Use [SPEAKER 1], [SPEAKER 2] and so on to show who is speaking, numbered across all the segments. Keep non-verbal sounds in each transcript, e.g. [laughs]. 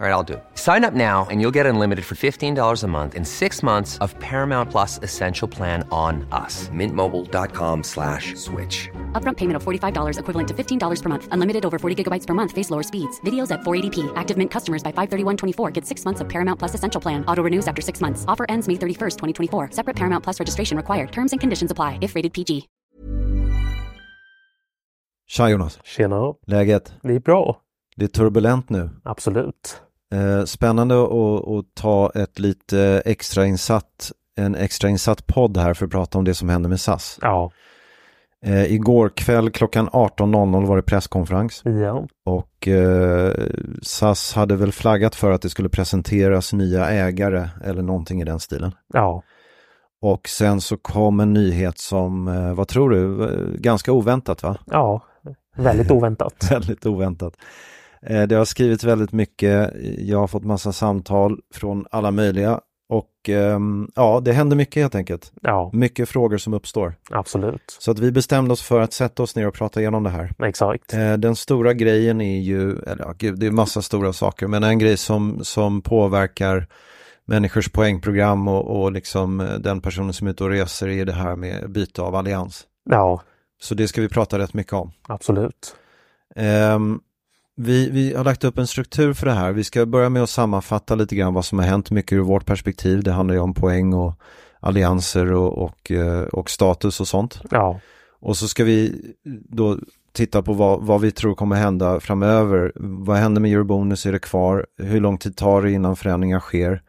[SPEAKER 1] All right, I'll do it. Sign up now and you'll get unlimited for $15 a month and six months of Paramount Plus Essential Plan on us. Mintmobile.com slash switch.
[SPEAKER 2] Upfront payment of $45 equivalent to $15 per month. Unlimited over 40 gigabytes per month. Face lower speeds. Videos at 480p. Active Mint customers by 531.24 get six months of Paramount Plus Essential Plan. Auto renews after six months. Offer ends May 31st, 2024. Separate Paramount Plus registration required. Terms and conditions apply if rated PG.
[SPEAKER 3] Tja Jonas,
[SPEAKER 4] Tjena,
[SPEAKER 3] läget?
[SPEAKER 4] det är bra.
[SPEAKER 3] Det är turbulent nu.
[SPEAKER 4] Absolut.
[SPEAKER 3] Eh, spännande att, att ta ett lite extrainsatt, en extrainsatt podd här för att prata om det som hände med SAS.
[SPEAKER 4] Ja.
[SPEAKER 3] Eh, igår kväll klockan 18.00 var det presskonferens
[SPEAKER 4] Ja.
[SPEAKER 3] och eh, SAS hade väl flaggat för att det skulle presenteras nya ägare eller någonting i den stilen.
[SPEAKER 4] Ja.
[SPEAKER 3] Och sen så kom en nyhet som, eh, vad tror du, eh, ganska oväntat va?
[SPEAKER 4] Ja. Väldigt oväntat.
[SPEAKER 3] [laughs] väldigt oväntat. Eh, Det har skrivits väldigt mycket, jag har fått massa samtal från alla möjliga och ehm, ja, det händer mycket helt enkelt.
[SPEAKER 4] [laughs] Ja,
[SPEAKER 3] Mycket frågor som uppstår.
[SPEAKER 4] absolut.
[SPEAKER 3] Så att vi bestämde oss för att sätta oss ner och prata igenom det här.
[SPEAKER 4] Exakt.
[SPEAKER 3] Eh, Den stora grejen är ju, eller ja, gud, det är massa stora saker, men en grej som, som påverkar människors poängprogram och, och liksom eh, den personen som är ute och reser är det här med byte av allians.
[SPEAKER 4] Ja,
[SPEAKER 3] Så det ska vi prata rätt mycket om.
[SPEAKER 4] absolut.
[SPEAKER 3] Ehm, vi, vi har lagt upp en struktur för det här. Vi ska börja med att sammanfatta lite grann vad som har hänt, mycket ur vårt perspektiv. Det handlar ju om poäng och allianser och, och, eh, och status och sånt.
[SPEAKER 4] Ja,
[SPEAKER 3] Och så ska vi då titta på vad, vad vi tror kommer hända framöver. Vad händer med eurobonus? Är det kvar? Hur lång tid tar det innan förändringar sker?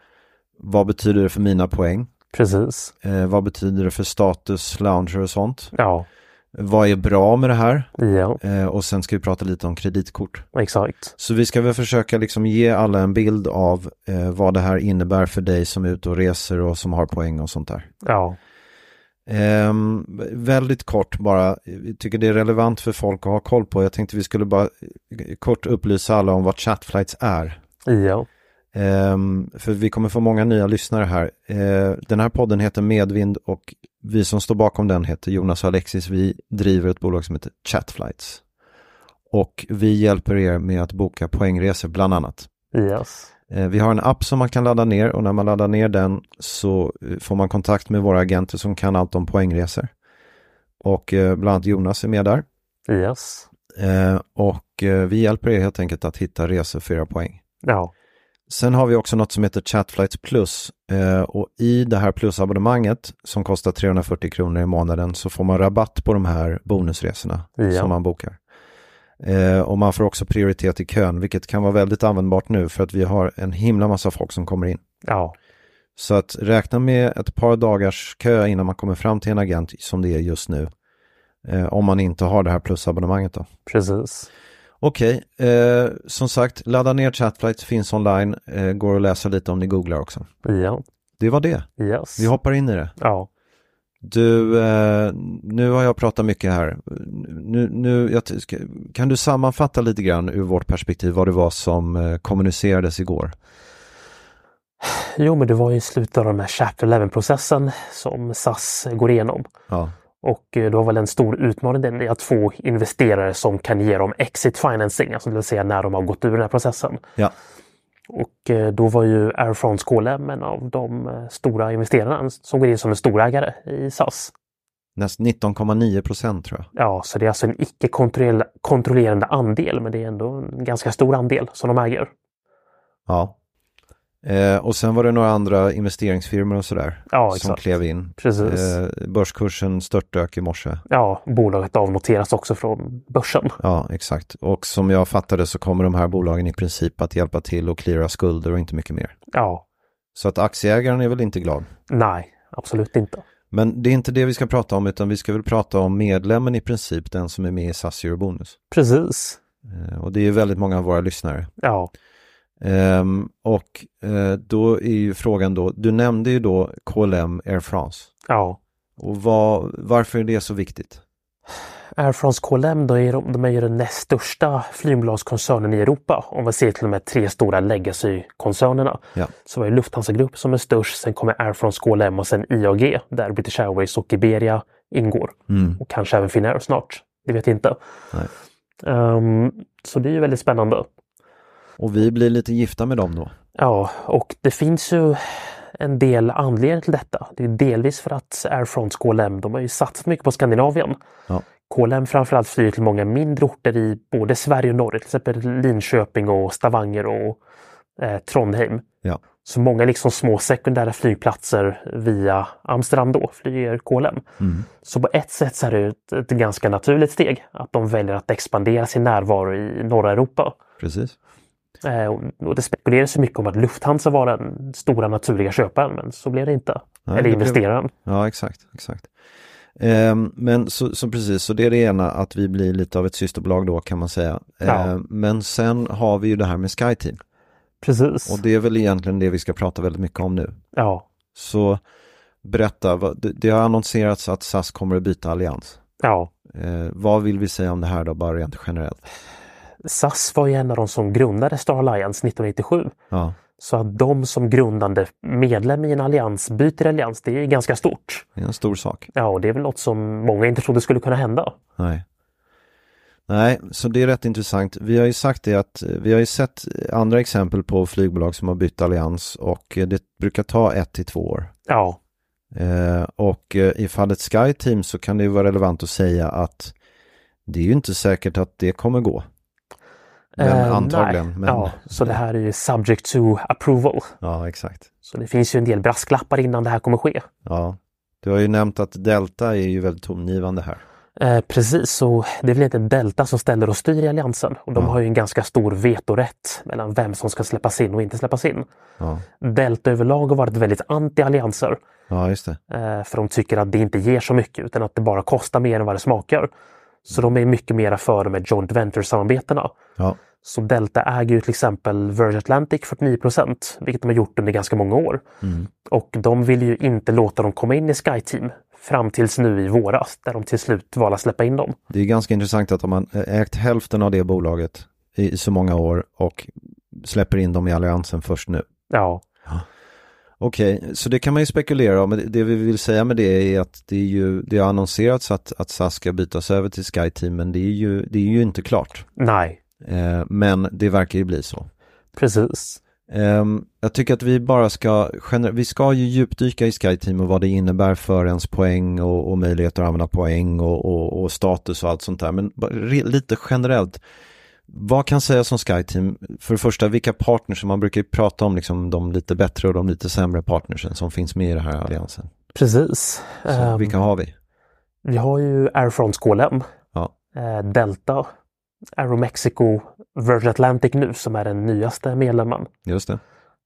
[SPEAKER 3] Vad betyder det för mina poäng?
[SPEAKER 4] precis.
[SPEAKER 3] Eh, vad betyder det för status, lounger och sånt?
[SPEAKER 4] Ja,
[SPEAKER 3] Vad är bra med det här?
[SPEAKER 4] ja,
[SPEAKER 3] Eh, och sen ska vi prata lite om kreditkort.
[SPEAKER 4] exakt.
[SPEAKER 3] Så vi ska väl försöka liksom ge alla en bild av eh, vad det här innebär för dig som är ute och reser och som har poäng och sånt där.
[SPEAKER 4] Ja,
[SPEAKER 3] Ehm, väldigt kort bara, jag tycker det är relevant för folk att ha koll på. Jag tänkte vi skulle bara eh, kort upplysa alla om vad Chatflights är.
[SPEAKER 4] ja,
[SPEAKER 3] Ehm, för vi kommer få många nya lyssnare här. Eh, den här podden heter Medvind och vi som står bakom den heter Jonas och Alexis. Vi driver ett bolag som heter Chatflights. Och vi hjälper er med att boka poängresor bland annat.
[SPEAKER 4] yes.
[SPEAKER 3] Eh, Vi har en app som man kan ladda ner och när man laddar ner den så eh, får man kontakt med våra agenter som kan allt om poängresor. Och eh, bland annat Jonas är med där.
[SPEAKER 4] Yes.
[SPEAKER 3] Eh, Och eh, vi hjälper er helt enkelt att hitta resor för era poäng.
[SPEAKER 4] Ja,
[SPEAKER 3] Sen har vi också något som heter Chatflights Plus Eh, och i det här plusabonnemanget som kostar 340 kronor i månaden så får man rabatt på de här bonusresorna
[SPEAKER 4] Ja.
[SPEAKER 3] som man bokar. Eh, Och man får också prioritet i kön vilket kan vara väldigt användbart nu för att vi har en himla massa folk som kommer in.
[SPEAKER 4] ja,
[SPEAKER 3] Så att räkna med ett par dagars kö innan man kommer fram till en agent som det är just nu. Eh, om man inte har det här plusabonnemanget då.
[SPEAKER 4] precis.
[SPEAKER 3] Okej, eh, som sagt, ladda ner Chatflight, finns online, eh, går att läsa lite om ni googlar också.
[SPEAKER 4] Ja,
[SPEAKER 3] Det var det,
[SPEAKER 4] yes.
[SPEAKER 3] vi hoppar in i det.
[SPEAKER 4] Ja,
[SPEAKER 3] Du, eh, nu har jag pratat mycket här. Nu, nu, jag ty- ska, kan du sammanfatta lite grann ur vårt perspektiv vad det var som eh, kommunicerades igår?
[SPEAKER 4] jo men det var ju i slutet av den här Chapter 11-processen som SAS går igenom.
[SPEAKER 3] Ja,
[SPEAKER 4] Och eh, då var väl en stor utmaning den är att få investerare som kan ge dem exit financing, alltså det vill säga när de har gått ur den här processen.
[SPEAKER 3] ja,
[SPEAKER 4] Och eh, då var ju Air France KLM en av de eh, stora investerarna som går in som en storägare i SAS.
[SPEAKER 3] Näst 19,9 procent tror jag.
[SPEAKER 4] Ja, så det är alltså en icke kontroll- kontrollerande andel, men det är ändå en ganska stor andel som de äger.
[SPEAKER 3] Ja. Eh, och sen var det några andra investeringsfirmor och sådär
[SPEAKER 4] Ja,
[SPEAKER 3] som
[SPEAKER 4] exakt.
[SPEAKER 3] klev in.
[SPEAKER 4] Precis.
[SPEAKER 3] Eh, börskursen störtdök i morse.
[SPEAKER 4] Ja, bolaget avnoteras också från börsen.
[SPEAKER 3] Ja, exakt. Och som jag fattade så kommer de här bolagen i princip att hjälpa till och cleara skulder och inte mycket mer.
[SPEAKER 4] Ja,
[SPEAKER 3] Så att aktieägaren är väl inte glad.
[SPEAKER 4] nej, absolut inte.
[SPEAKER 3] Men det är inte det vi ska prata om, utan vi ska väl prata om medlemmen i princip, den som är med i SAS Eurobonus.
[SPEAKER 4] Precis.
[SPEAKER 3] Eh, och det är ju väldigt många av våra lyssnare.
[SPEAKER 4] Ja,
[SPEAKER 3] Ehm, och eh, då är ju frågan då, du nämnde ju då KLM Air France.
[SPEAKER 4] ja.
[SPEAKER 3] Och vad, varför är det så viktigt?
[SPEAKER 4] Air France KLM, då är de, de är ju den näst största flygbolagskoncernen i Europa. Om vi ser till de här tre stora legacy-koncernerna.
[SPEAKER 3] Ja.
[SPEAKER 4] Så var det Lufthansa Grupp som är störst, sen kommer Air France KLM och sen IAG där British Airways och Iberia ingår. Och kanske även Finnair snart. Det vet jag inte.
[SPEAKER 3] Nej.
[SPEAKER 4] Ehm, så det är ju väldigt spännande.
[SPEAKER 3] Och vi blir lite gifta med dem då.
[SPEAKER 4] Ja, och det finns ju en del anledningar till detta. Det är ju delvis för att Air France KLM, de har ju satsat mycket på Skandinavien.
[SPEAKER 3] Ja.
[SPEAKER 4] KLM framförallt flyger till många mindre orter i både Sverige och Norge, till exempel Linköping och Stavanger och eh, Trondheim.
[SPEAKER 3] Ja.
[SPEAKER 4] Så många liksom små sekundära flygplatser via Amsterdam då flyger KLM.
[SPEAKER 3] Mm.
[SPEAKER 4] Så på ett sätt så är det ett, ett ganska naturligt steg att de väljer att expandera sin närvaro i norra Europa.
[SPEAKER 3] Precis.
[SPEAKER 4] Eh, och- Och det spekulerades ju mycket om att Lufthansa var den stora naturliga köparen, men så blev det inte.
[SPEAKER 3] Nej,
[SPEAKER 4] Eller
[SPEAKER 3] det blev-
[SPEAKER 4] investeraren.
[SPEAKER 3] Ja, exakt. exakt. Ehm, men så, så precis, så det är det ena, att vi blir lite av ett systerbolag då kan man säga.
[SPEAKER 4] Ja.
[SPEAKER 3] Ehm, men sen har vi ju det här med SkyTeam.
[SPEAKER 4] Precis.
[SPEAKER 3] Och det är väl egentligen det vi ska prata väldigt mycket om nu.
[SPEAKER 4] Ja,
[SPEAKER 3] Så berätta, vad- det, det har annonserats att SAS kommer att byta allians.
[SPEAKER 4] ja.
[SPEAKER 3] Eh, vad vill vi säga om det här då, bara rent generellt?
[SPEAKER 4] SAS var ju en av de som grundade Star Alliance 1997.
[SPEAKER 3] Ja,
[SPEAKER 4] Så att de som grundande medlem i en allians byter allians, det är ju ganska stort.
[SPEAKER 3] det är en stor sak.
[SPEAKER 4] Ja, och det är väl något som många inte trodde skulle kunna hända.
[SPEAKER 3] Nej. Nej, så det är rätt intressant. Vi har ju sagt det att eh, vi har ju sett eh, andra exempel på flygbolag som har bytt allians och eh, det brukar ta ett till två år.
[SPEAKER 4] Ja,
[SPEAKER 3] Eh, och eh, i fallet SkyTeam så kan det ju vara relevant att säga att det är ju inte säkert att det kommer gå. Men
[SPEAKER 4] Eh,
[SPEAKER 3] antagligen.
[SPEAKER 4] nej.
[SPEAKER 3] Men,
[SPEAKER 4] Ja, så det här är ju subject to approval.
[SPEAKER 3] ja, exakt.
[SPEAKER 4] Så det finns ju en del brasklappar innan det här kommer ske.
[SPEAKER 3] Ja. Du har ju nämnt att Delta är ju väldigt tongivande här.
[SPEAKER 4] Eh, precis, så det är väl inte Delta som ställer och styr i alliansen och de
[SPEAKER 3] Ja.
[SPEAKER 4] har ju en ganska stor vetorätt mellan vem som ska släppas in och inte släppas in.
[SPEAKER 3] Ja,
[SPEAKER 4] Delta överlag har varit väldigt anti allianser
[SPEAKER 3] ja just det.
[SPEAKER 4] eh, för de tycker att det inte ger så mycket utan att det bara kostar mer än vad det smakar. Så de är mycket mera för de här joint venture-samarbetena.
[SPEAKER 3] Ja,
[SPEAKER 4] Så Delta äger ju till exempel Virgin Atlantic 49 vilket de har gjort under ganska många år. Och de vill ju inte låta dem komma in i SkyTeam fram tills nu i våras där de till slut valde att släppa in dem.
[SPEAKER 3] det är ganska intressant att om man ägt hälften av det bolaget i, i så många år och släpper in dem i alliansen först nu.
[SPEAKER 4] Ja,
[SPEAKER 3] Okej, så det kan man ju spekulera om. Men det- Det vi vill säga med det är att det, är ju, det har annonserats att, att SAS ska bytas över till SkyTeam, men det är ju, det är ju inte klart.
[SPEAKER 4] nej,
[SPEAKER 3] Eh, men det verkar ju bli så.
[SPEAKER 4] precis.
[SPEAKER 3] Ehm, jag tycker att vi bara ska, gener- vi ska ju djupdyka i SkyTeam och vad det innebär för ens poäng och, och möjligheter att använda poäng och, och, och status och allt sånt där. Men bara re- lite generellt, vad kan sägas om SkyTeam? För det första, vilka partners, man brukar ju prata om liksom de lite bättre och de lite sämre partnersen som finns med i den här alliansen.
[SPEAKER 4] Precis.
[SPEAKER 3] Så
[SPEAKER 4] Ehm,
[SPEAKER 3] vilka har vi?
[SPEAKER 4] Vi har ju Air France KLM,
[SPEAKER 3] Ja,
[SPEAKER 4] eh, Delta, Aeromexico, Virgin Atlantic nu som är den nyaste medlemmen.
[SPEAKER 3] just det.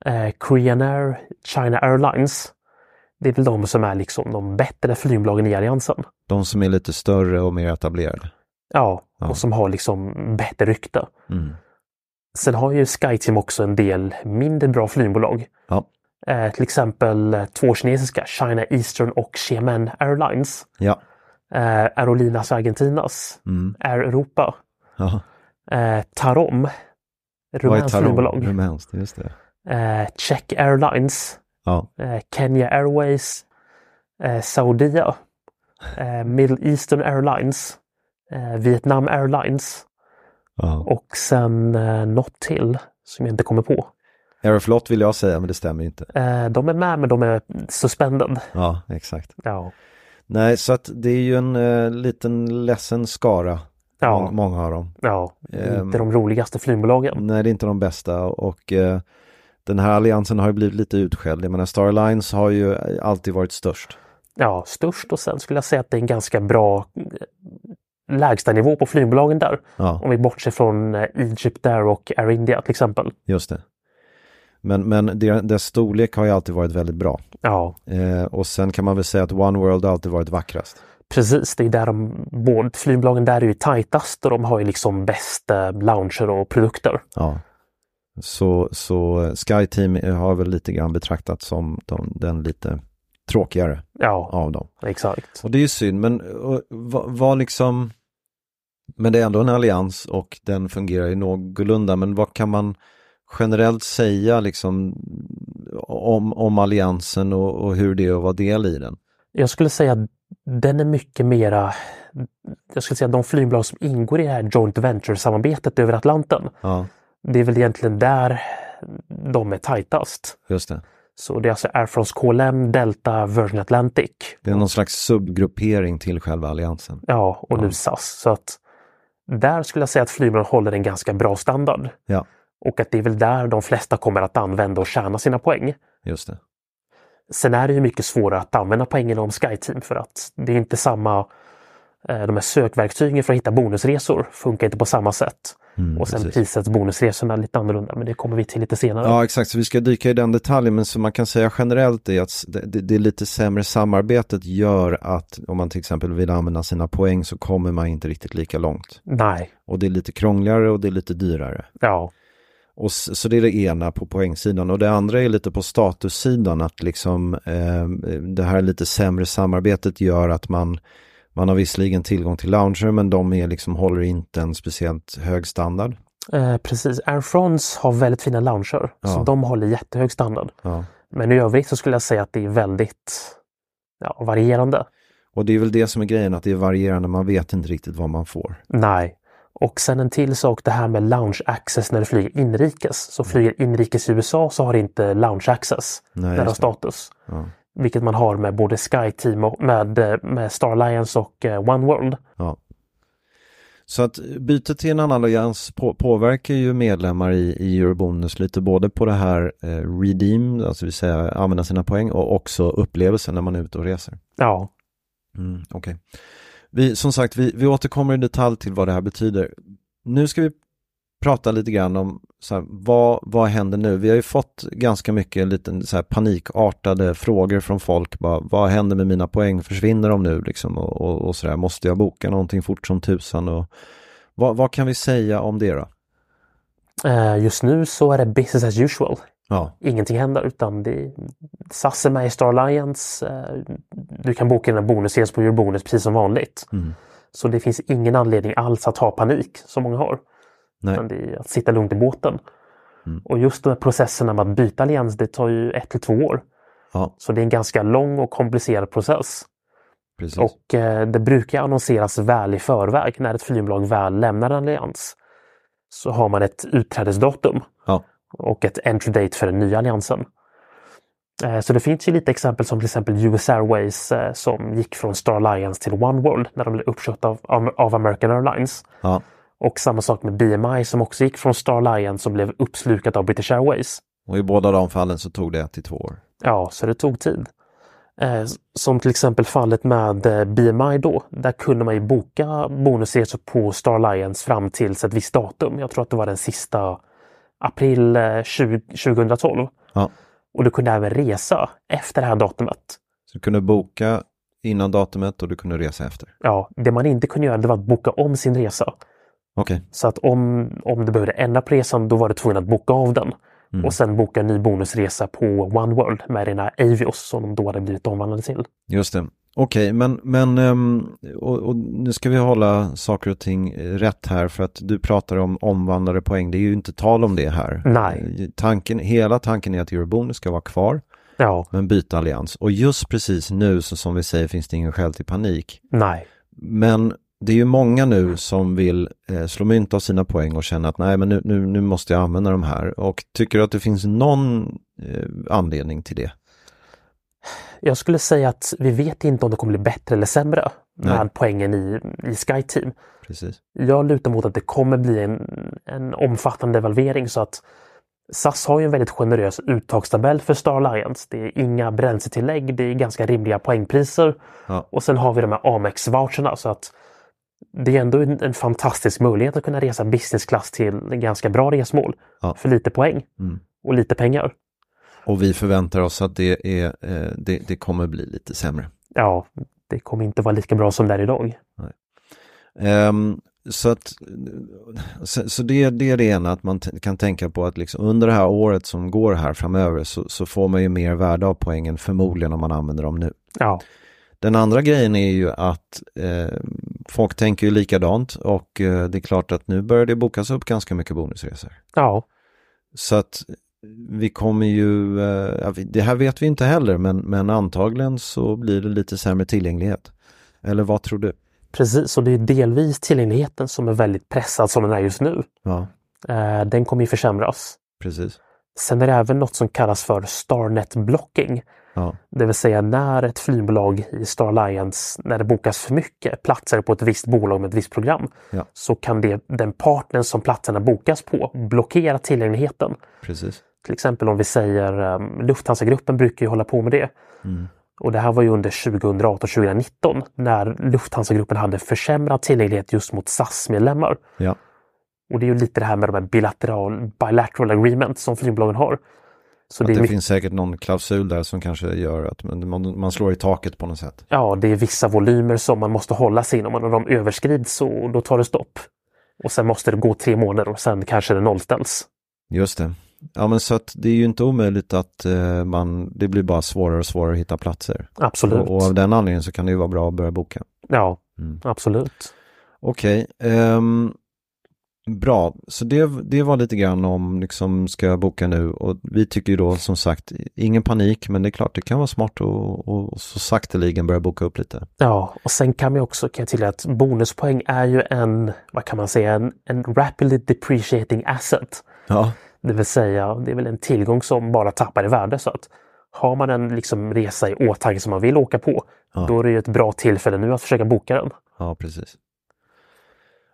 [SPEAKER 4] Eh, Korean Air, China Airlines. Det är väl de som är liksom de bättre flygbolagen i alliansen.
[SPEAKER 3] De som är lite större och mer etablerade.
[SPEAKER 4] Ja,
[SPEAKER 3] Ja.
[SPEAKER 4] och som har liksom bättre rykte.
[SPEAKER 3] Mm.
[SPEAKER 4] Sen har ju SkyTeam också en del mindre bra flygbolag.
[SPEAKER 3] Ja,
[SPEAKER 4] Eh, till exempel eh, två kinesiska, China Eastern och Xiamen Airlines.
[SPEAKER 3] ja,
[SPEAKER 4] Eh, Aerolinas Argentinas,
[SPEAKER 3] mm.
[SPEAKER 4] Air Europa.
[SPEAKER 3] ja.
[SPEAKER 4] eh, Tarom,
[SPEAKER 3] Vad är
[SPEAKER 4] rumänskt
[SPEAKER 3] Tarom?
[SPEAKER 4] flygbolag,
[SPEAKER 3] Rumänskt, just det.
[SPEAKER 4] eh, Czech Airlines,
[SPEAKER 3] Ja,
[SPEAKER 4] eh, Kenya Airways, eh, Saudia, eh, Middle Eastern Airlines, eh, Vietnam Airlines
[SPEAKER 3] ja.
[SPEAKER 4] och sen eh, något till som jag inte kommer på.
[SPEAKER 3] Aeroflot vill jag säga, men det stämmer ju inte.
[SPEAKER 4] Eh, de är med men de är suspended.
[SPEAKER 3] Ja, [laughs] exakt.
[SPEAKER 4] Ja,
[SPEAKER 3] Nej, så att det är ju en eh, liten ledsen skara,
[SPEAKER 4] Ja.
[SPEAKER 3] mång- många av dem.
[SPEAKER 4] Ja,
[SPEAKER 3] Ehm.
[SPEAKER 4] inte de roligaste flygbolagen.
[SPEAKER 3] Nej, det är inte de bästa och eh, den här alliansen har ju blivit lite utskälld. Jag menar, Star Alliance har ju alltid varit störst.
[SPEAKER 4] Ja, störst och sen skulle jag säga att det är en ganska bra eh, lägstanivå på flygbolagen där.
[SPEAKER 3] Ja,
[SPEAKER 4] Om vi bortser från eh, Egypt Air och Air India till exempel.
[SPEAKER 3] just det. Men, men der- dess storlek har ju alltid varit väldigt bra.
[SPEAKER 4] Ja,
[SPEAKER 3] Eh, och sen kan man väl säga att One World har alltid varit vackrast.
[SPEAKER 4] precis. Det är där de, både, flygbolagen där är ju tajtast och de har ju liksom bäst eh, lounger och produkter.
[SPEAKER 3] Ja. Så, så eh, Sky Team har väl lite grann betraktats som de, den lite tråkigare
[SPEAKER 4] Ja,
[SPEAKER 3] av dem.
[SPEAKER 4] exakt.
[SPEAKER 3] Och det är ju synd, men och, vad vad liksom... Men det är ändå en allians och den fungerar ju någorlunda, men vad kan man generellt säga liksom om, om alliansen och, och hur det är att vara del i den?
[SPEAKER 4] Jag skulle säga att den är mycket mera... Jag skulle säga att de flygbolag som ingår i det här joint venture-samarbetet över Atlanten,
[SPEAKER 3] Ja,
[SPEAKER 4] det är väl egentligen där de är tajtast.
[SPEAKER 3] just det.
[SPEAKER 4] Så det är alltså Air France KLM, Delta, Virgin Atlantic.
[SPEAKER 3] Det är någon slags subgruppering till själva alliansen.
[SPEAKER 4] Ja, och
[SPEAKER 3] Ja.
[SPEAKER 4] nu SAS. Så att där skulle jag säga att flygbolagen håller en ganska bra standard.
[SPEAKER 3] Ja,
[SPEAKER 4] Och att det är väl där de flesta kommer att använda och tjäna sina poäng.
[SPEAKER 3] just det.
[SPEAKER 4] Sen är det ju mycket svårare att använda poängen om SkyTeam för att det är inte samma... eh, De här sökverktygen för att hitta bonusresor funkar inte på samma sätt.
[SPEAKER 3] Mm,
[SPEAKER 4] och sen
[SPEAKER 3] precis.
[SPEAKER 4] prissätts bonusresorna lite annorlunda, men det kommer vi till lite senare.
[SPEAKER 3] Ja, exakt. Så vi ska dyka i den detaljen, men som man kan säga generellt är att s- det, det, det lite sämre samarbetet gör att om man till exempel vill använda sina poäng så kommer man inte riktigt lika långt.
[SPEAKER 4] Nej,
[SPEAKER 3] Och det är lite krångligare och det är lite dyrare.
[SPEAKER 4] ja,
[SPEAKER 3] Och s- så det är det ena på poängsidan och det andra är lite på statussidan att liksom eh, det här lite sämre samarbetet gör att man man har visserligen tillgång till lounger men de är liksom håller inte en speciellt hög standard.
[SPEAKER 4] eh, precis. Air France har väldigt fina lounger,
[SPEAKER 3] Ja.
[SPEAKER 4] så de håller jättehög standard.
[SPEAKER 3] Ja.
[SPEAKER 4] Men i övrigt så skulle jag säga att det är väldigt ja, varierande.
[SPEAKER 3] Och det är väl det som är grejen att det är varierande, man vet inte riktigt vad man får.
[SPEAKER 4] Nej. Och sen en till sak, det här med lounge access när du flyger inrikes. Så
[SPEAKER 3] Mm.
[SPEAKER 4] flyger inrikes i USA så har inte lounge access
[SPEAKER 3] Nej,
[SPEAKER 4] den har
[SPEAKER 3] just det.
[SPEAKER 4] status.
[SPEAKER 3] Ja.
[SPEAKER 4] Vilket man har med både SkyTeam och med, eh, med Star Alliance och eh, One World.
[SPEAKER 3] Ja. Så att bytet till en annan allians på, påverkar ju medlemmar i, i Eurobonus lite både på det här eh, redeem, alltså det vill säga använda sina poäng och också upplevelsen när man är ute och reser.
[SPEAKER 4] Ja,
[SPEAKER 3] Mm, Okej. Vi, som sagt, vi, vi återkommer i detalj till vad det här betyder. Nu ska vi prata lite grann om så här, vad, vad händer nu? Vi har ju fått ganska mycket lite så här, panikartade frågor från folk. Bara, vad händer med mina poäng? Försvinner de nu? Liksom, och, och, och så där. Måste jag boka någonting fort som tusan? Och, vad, vad kan vi säga om det då?
[SPEAKER 4] eh, just nu så är det business as usual.
[SPEAKER 3] Ja,
[SPEAKER 4] Ingenting händer utan det, SAS är med i Star Alliance. Eh, du kan boka dina bonusresor på Eurobonus precis som vanligt. Så det finns ingen anledning alls att ha panik som många har.
[SPEAKER 3] nej.
[SPEAKER 4] Utan det är att sitta lugnt i båten. Och just de här processerna med att byta allians, det tar ju ett till två år.
[SPEAKER 3] Ja,
[SPEAKER 4] Så det är en ganska lång och komplicerad process.
[SPEAKER 3] precis.
[SPEAKER 4] Och eh, det brukar annonseras väl i förväg när ett flygbolag väl lämnar en allians. Så har man ett utträdesdatum
[SPEAKER 3] Ja,
[SPEAKER 4] och ett entry date för den nya alliansen. Eh, Så det finns ju lite exempel som till exempel US Airways eh, som gick från Star Alliance till One World när de blev uppköpta av, av- av American Airlines.
[SPEAKER 3] ja,
[SPEAKER 4] Och samma sak med BMI som också gick från Star Alliance som blev uppslukat av British Airways.
[SPEAKER 3] och i båda de fallen så tog det ett till två år.
[SPEAKER 4] Ja, så det tog tid. Eh, som till exempel fallet med eh, BMI då. Där kunde man ju boka bonusresor på Star Alliance fram till ett visst datum. Jag tror att det var den sista april eh, 20, 2012.
[SPEAKER 3] Ja.
[SPEAKER 4] Och du kunde även resa efter det här datumet.
[SPEAKER 3] Så du kunde boka innan datumet och du kunde resa efter.
[SPEAKER 4] Ja, det man inte kunde göra det var att boka om sin resa.
[SPEAKER 3] Okej.
[SPEAKER 4] Så att om, om du behövde ändra på resan då var du tvungen att boka av den.
[SPEAKER 3] Mm.
[SPEAKER 4] Och sen boka en ny bonusresa på One World med dina Avios som de då hade blivit omvandlade till.
[SPEAKER 3] Just det. Okej, men, men ehm, och, och nu ska vi hålla saker och ting eh, rätt här för att du pratar om omvandlade poäng. Det är ju inte tal om det här.
[SPEAKER 4] Nej.
[SPEAKER 3] Eh, Tanken, hela tanken är att Eurobonus ska vara kvar,
[SPEAKER 4] Ja,
[SPEAKER 3] men byta allians. Och just precis nu, så som vi säger, finns det ingen skäl till panik.
[SPEAKER 4] nej.
[SPEAKER 3] Men det är ju många nu som vill eh, slå mynt av sina poäng och känna att nej, men nu, nu, nu måste jag använda de här. Och tycker du att det finns någon eh, anledning till det?
[SPEAKER 4] Jag skulle säga att vi vet inte om det kommer bli bättre eller sämre
[SPEAKER 3] Nej.
[SPEAKER 4] med poängen i, i SkyTeam.
[SPEAKER 3] Precis.
[SPEAKER 4] Jag lutar mot att det kommer bli en, en omfattande devalvering så att SAS har ju en väldigt generös uttagstabell för Star Alliance. Det är inga bränsletillägg, det är ganska rimliga poängpriser.
[SPEAKER 3] Ja.
[SPEAKER 4] Och sen har vi de här Amex-voucherna så att det är ändå en, en fantastisk möjlighet att kunna resa business class till en ganska bra resmål
[SPEAKER 3] Ja.
[SPEAKER 4] för lite poäng
[SPEAKER 3] Mm.
[SPEAKER 4] och lite pengar.
[SPEAKER 3] Och vi förväntar oss att det, är, eh, det, det kommer bli lite sämre.
[SPEAKER 4] Ja, det kommer inte vara lika bra som det är idag.
[SPEAKER 3] Ehm, så att, så, så det, det är det ena, att man t- kan tänka på att liksom under det här året som går här framöver så, så får man ju mer värde av poängen förmodligen om man använder dem nu.
[SPEAKER 4] Ja,
[SPEAKER 3] Den andra grejen är ju att eh, folk tänker ju likadant och eh, det är klart att nu börjar det bokas upp ganska mycket bonusresor.
[SPEAKER 4] ja,
[SPEAKER 3] Så att vi kommer ju, eh, ja, vi- det här vet vi inte heller, men, men antagligen så blir det lite sämre tillgänglighet. Eller vad tror du?
[SPEAKER 4] precis. Och det är delvis tillgängligheten som är väldigt pressad som den är just nu.
[SPEAKER 3] Ja,
[SPEAKER 4] Eh, Den kommer ju försämras.
[SPEAKER 3] precis.
[SPEAKER 4] Sen är det även något som kallas för Starnet blocking.
[SPEAKER 3] Ja,
[SPEAKER 4] Det vill säga när ett flygbolag i Star Alliance, när det bokas för mycket platser på ett visst bolag med ett visst program,
[SPEAKER 3] Ja.
[SPEAKER 4] så kan det, den partnern som platserna bokas på blockera tillgängligheten.
[SPEAKER 3] precis.
[SPEAKER 4] Till exempel om vi säger um, Lufthansa-gruppen brukar ju hålla på med det.
[SPEAKER 3] Mm.
[SPEAKER 4] Och det här var ju under 2018-2019 när Lufthansa-gruppen hade försämrad tillgänglighet just mot SAS-medlemmar.
[SPEAKER 3] Ja,
[SPEAKER 4] Och det är ju lite det här med de här bilateral, bilateral agreements som flygbolagen har. Så
[SPEAKER 3] att
[SPEAKER 4] det är
[SPEAKER 3] det
[SPEAKER 4] mycket,
[SPEAKER 3] finns säkert någon klausul där som kanske gör att man, man, man slår i taket på något sätt.
[SPEAKER 4] ja, det är vissa volymer som man måste hålla sig inom och när de överskrids så då tar det stopp. Och sen måste det gå tre månader och sen kanske det nollställs.
[SPEAKER 3] Just det. Ja, men så att det är ju inte omöjligt att eh, man, det blir bara svårare och svårare att hitta platser.
[SPEAKER 4] Absolut.
[SPEAKER 3] Och, och av den anledningen så kan det ju vara bra att börja boka.
[SPEAKER 4] Ja,
[SPEAKER 3] Mm.
[SPEAKER 4] absolut.
[SPEAKER 3] Okej, ehm, bra. Så det, det var lite grann om, liksom, ska jag boka nu? Och vi tycker ju då som sagt, ingen panik, men det är klart det kan vara smart att och, och så sakteligen börja boka upp lite.
[SPEAKER 4] Ja, och sen kan vi också kan jag tillägga att bonuspoäng är ju en, vad kan man säga, en, en rapidly depreciating asset.
[SPEAKER 3] Ja,
[SPEAKER 4] Det vill säga, det är väl en tillgång som bara tappar i värde. Så att har man en liksom, resa i åtanke som man vill åka på,
[SPEAKER 3] Ja.
[SPEAKER 4] då är det ju ett bra tillfälle nu att försöka boka den.
[SPEAKER 3] ja precis.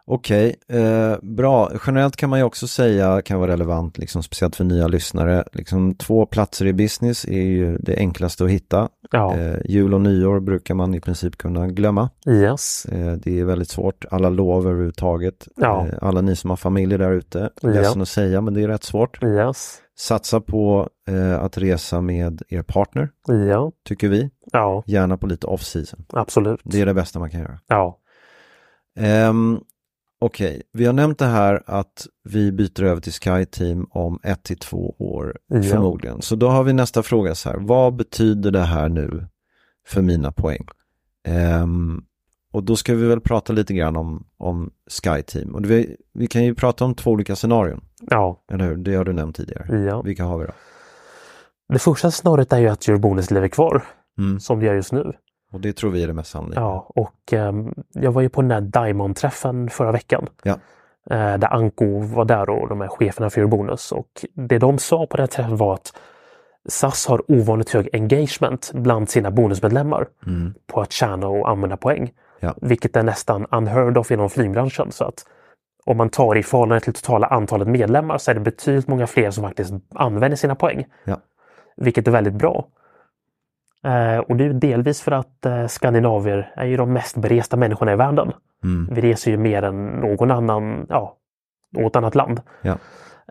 [SPEAKER 3] Okej, eh, bra. Generellt kan man ju också säga, kan vara relevant, liksom, speciellt för nya lyssnare, liksom, två platser i business är ju det enklaste att hitta.
[SPEAKER 4] Ja,
[SPEAKER 3] Eh, jul och nyår brukar man i princip kunna glömma.
[SPEAKER 4] yes.
[SPEAKER 3] Eh, Det är väldigt svårt, alla lov överhuvudtaget.
[SPEAKER 4] Ja.
[SPEAKER 3] Eh, Alla ni som har familjer där ute,
[SPEAKER 4] Ja.
[SPEAKER 3] ledsen att säga men det är rätt svårt.
[SPEAKER 4] Yes.
[SPEAKER 3] Satsa på eh, att resa med er partner,
[SPEAKER 4] Ja.
[SPEAKER 3] tycker vi.
[SPEAKER 4] Ja,
[SPEAKER 3] Gärna på lite off-season.
[SPEAKER 4] absolut.
[SPEAKER 3] Det är det bästa man kan göra.
[SPEAKER 4] Ja.
[SPEAKER 3] Ehm, Okej, vi har nämnt det här att vi byter över till Sky Team om ett till två år
[SPEAKER 4] Ja.
[SPEAKER 3] förmodligen. Så då har vi nästa fråga så här, vad betyder det här nu för mina poäng? Ehm, och då ska vi väl prata lite grann om, om Sky Team. Och det, vi, vi kan ju prata om två olika scenarion,
[SPEAKER 4] Ja.
[SPEAKER 3] eller hur? Det har du nämnt tidigare.
[SPEAKER 4] Ja.
[SPEAKER 3] Vilka har vi då?
[SPEAKER 4] Det första snarare är ju att your bonus lever kvar,
[SPEAKER 3] Mm.
[SPEAKER 4] som det gör just nu.
[SPEAKER 3] Och det tror vi är det mest sannolika.
[SPEAKER 4] Ja, och ehm, jag var ju på den där Diamond-träffen förra veckan.
[SPEAKER 3] Ja.
[SPEAKER 4] Eh, där Anko var där och de här cheferna för Eurobonus. Och det de sa på den här träffen var att SAS har ovanligt hög engagement bland sina bonusmedlemmar
[SPEAKER 3] Mm.
[SPEAKER 4] på att tjäna och använda poäng.
[SPEAKER 3] Ja.
[SPEAKER 4] Vilket är nästan unheard of inom flygbranschen. Så att om man tar i förhållande till totala antalet medlemmar så är det betydligt många fler som faktiskt använder sina poäng.
[SPEAKER 3] Ja.
[SPEAKER 4] Vilket är väldigt bra. Eh, och det är ju delvis för att eh, skandinavier är ju de mest beresta människorna i världen.
[SPEAKER 3] Mm.
[SPEAKER 4] Vi reser ju mer än någon annan, ja, något annat land.
[SPEAKER 3] Ja.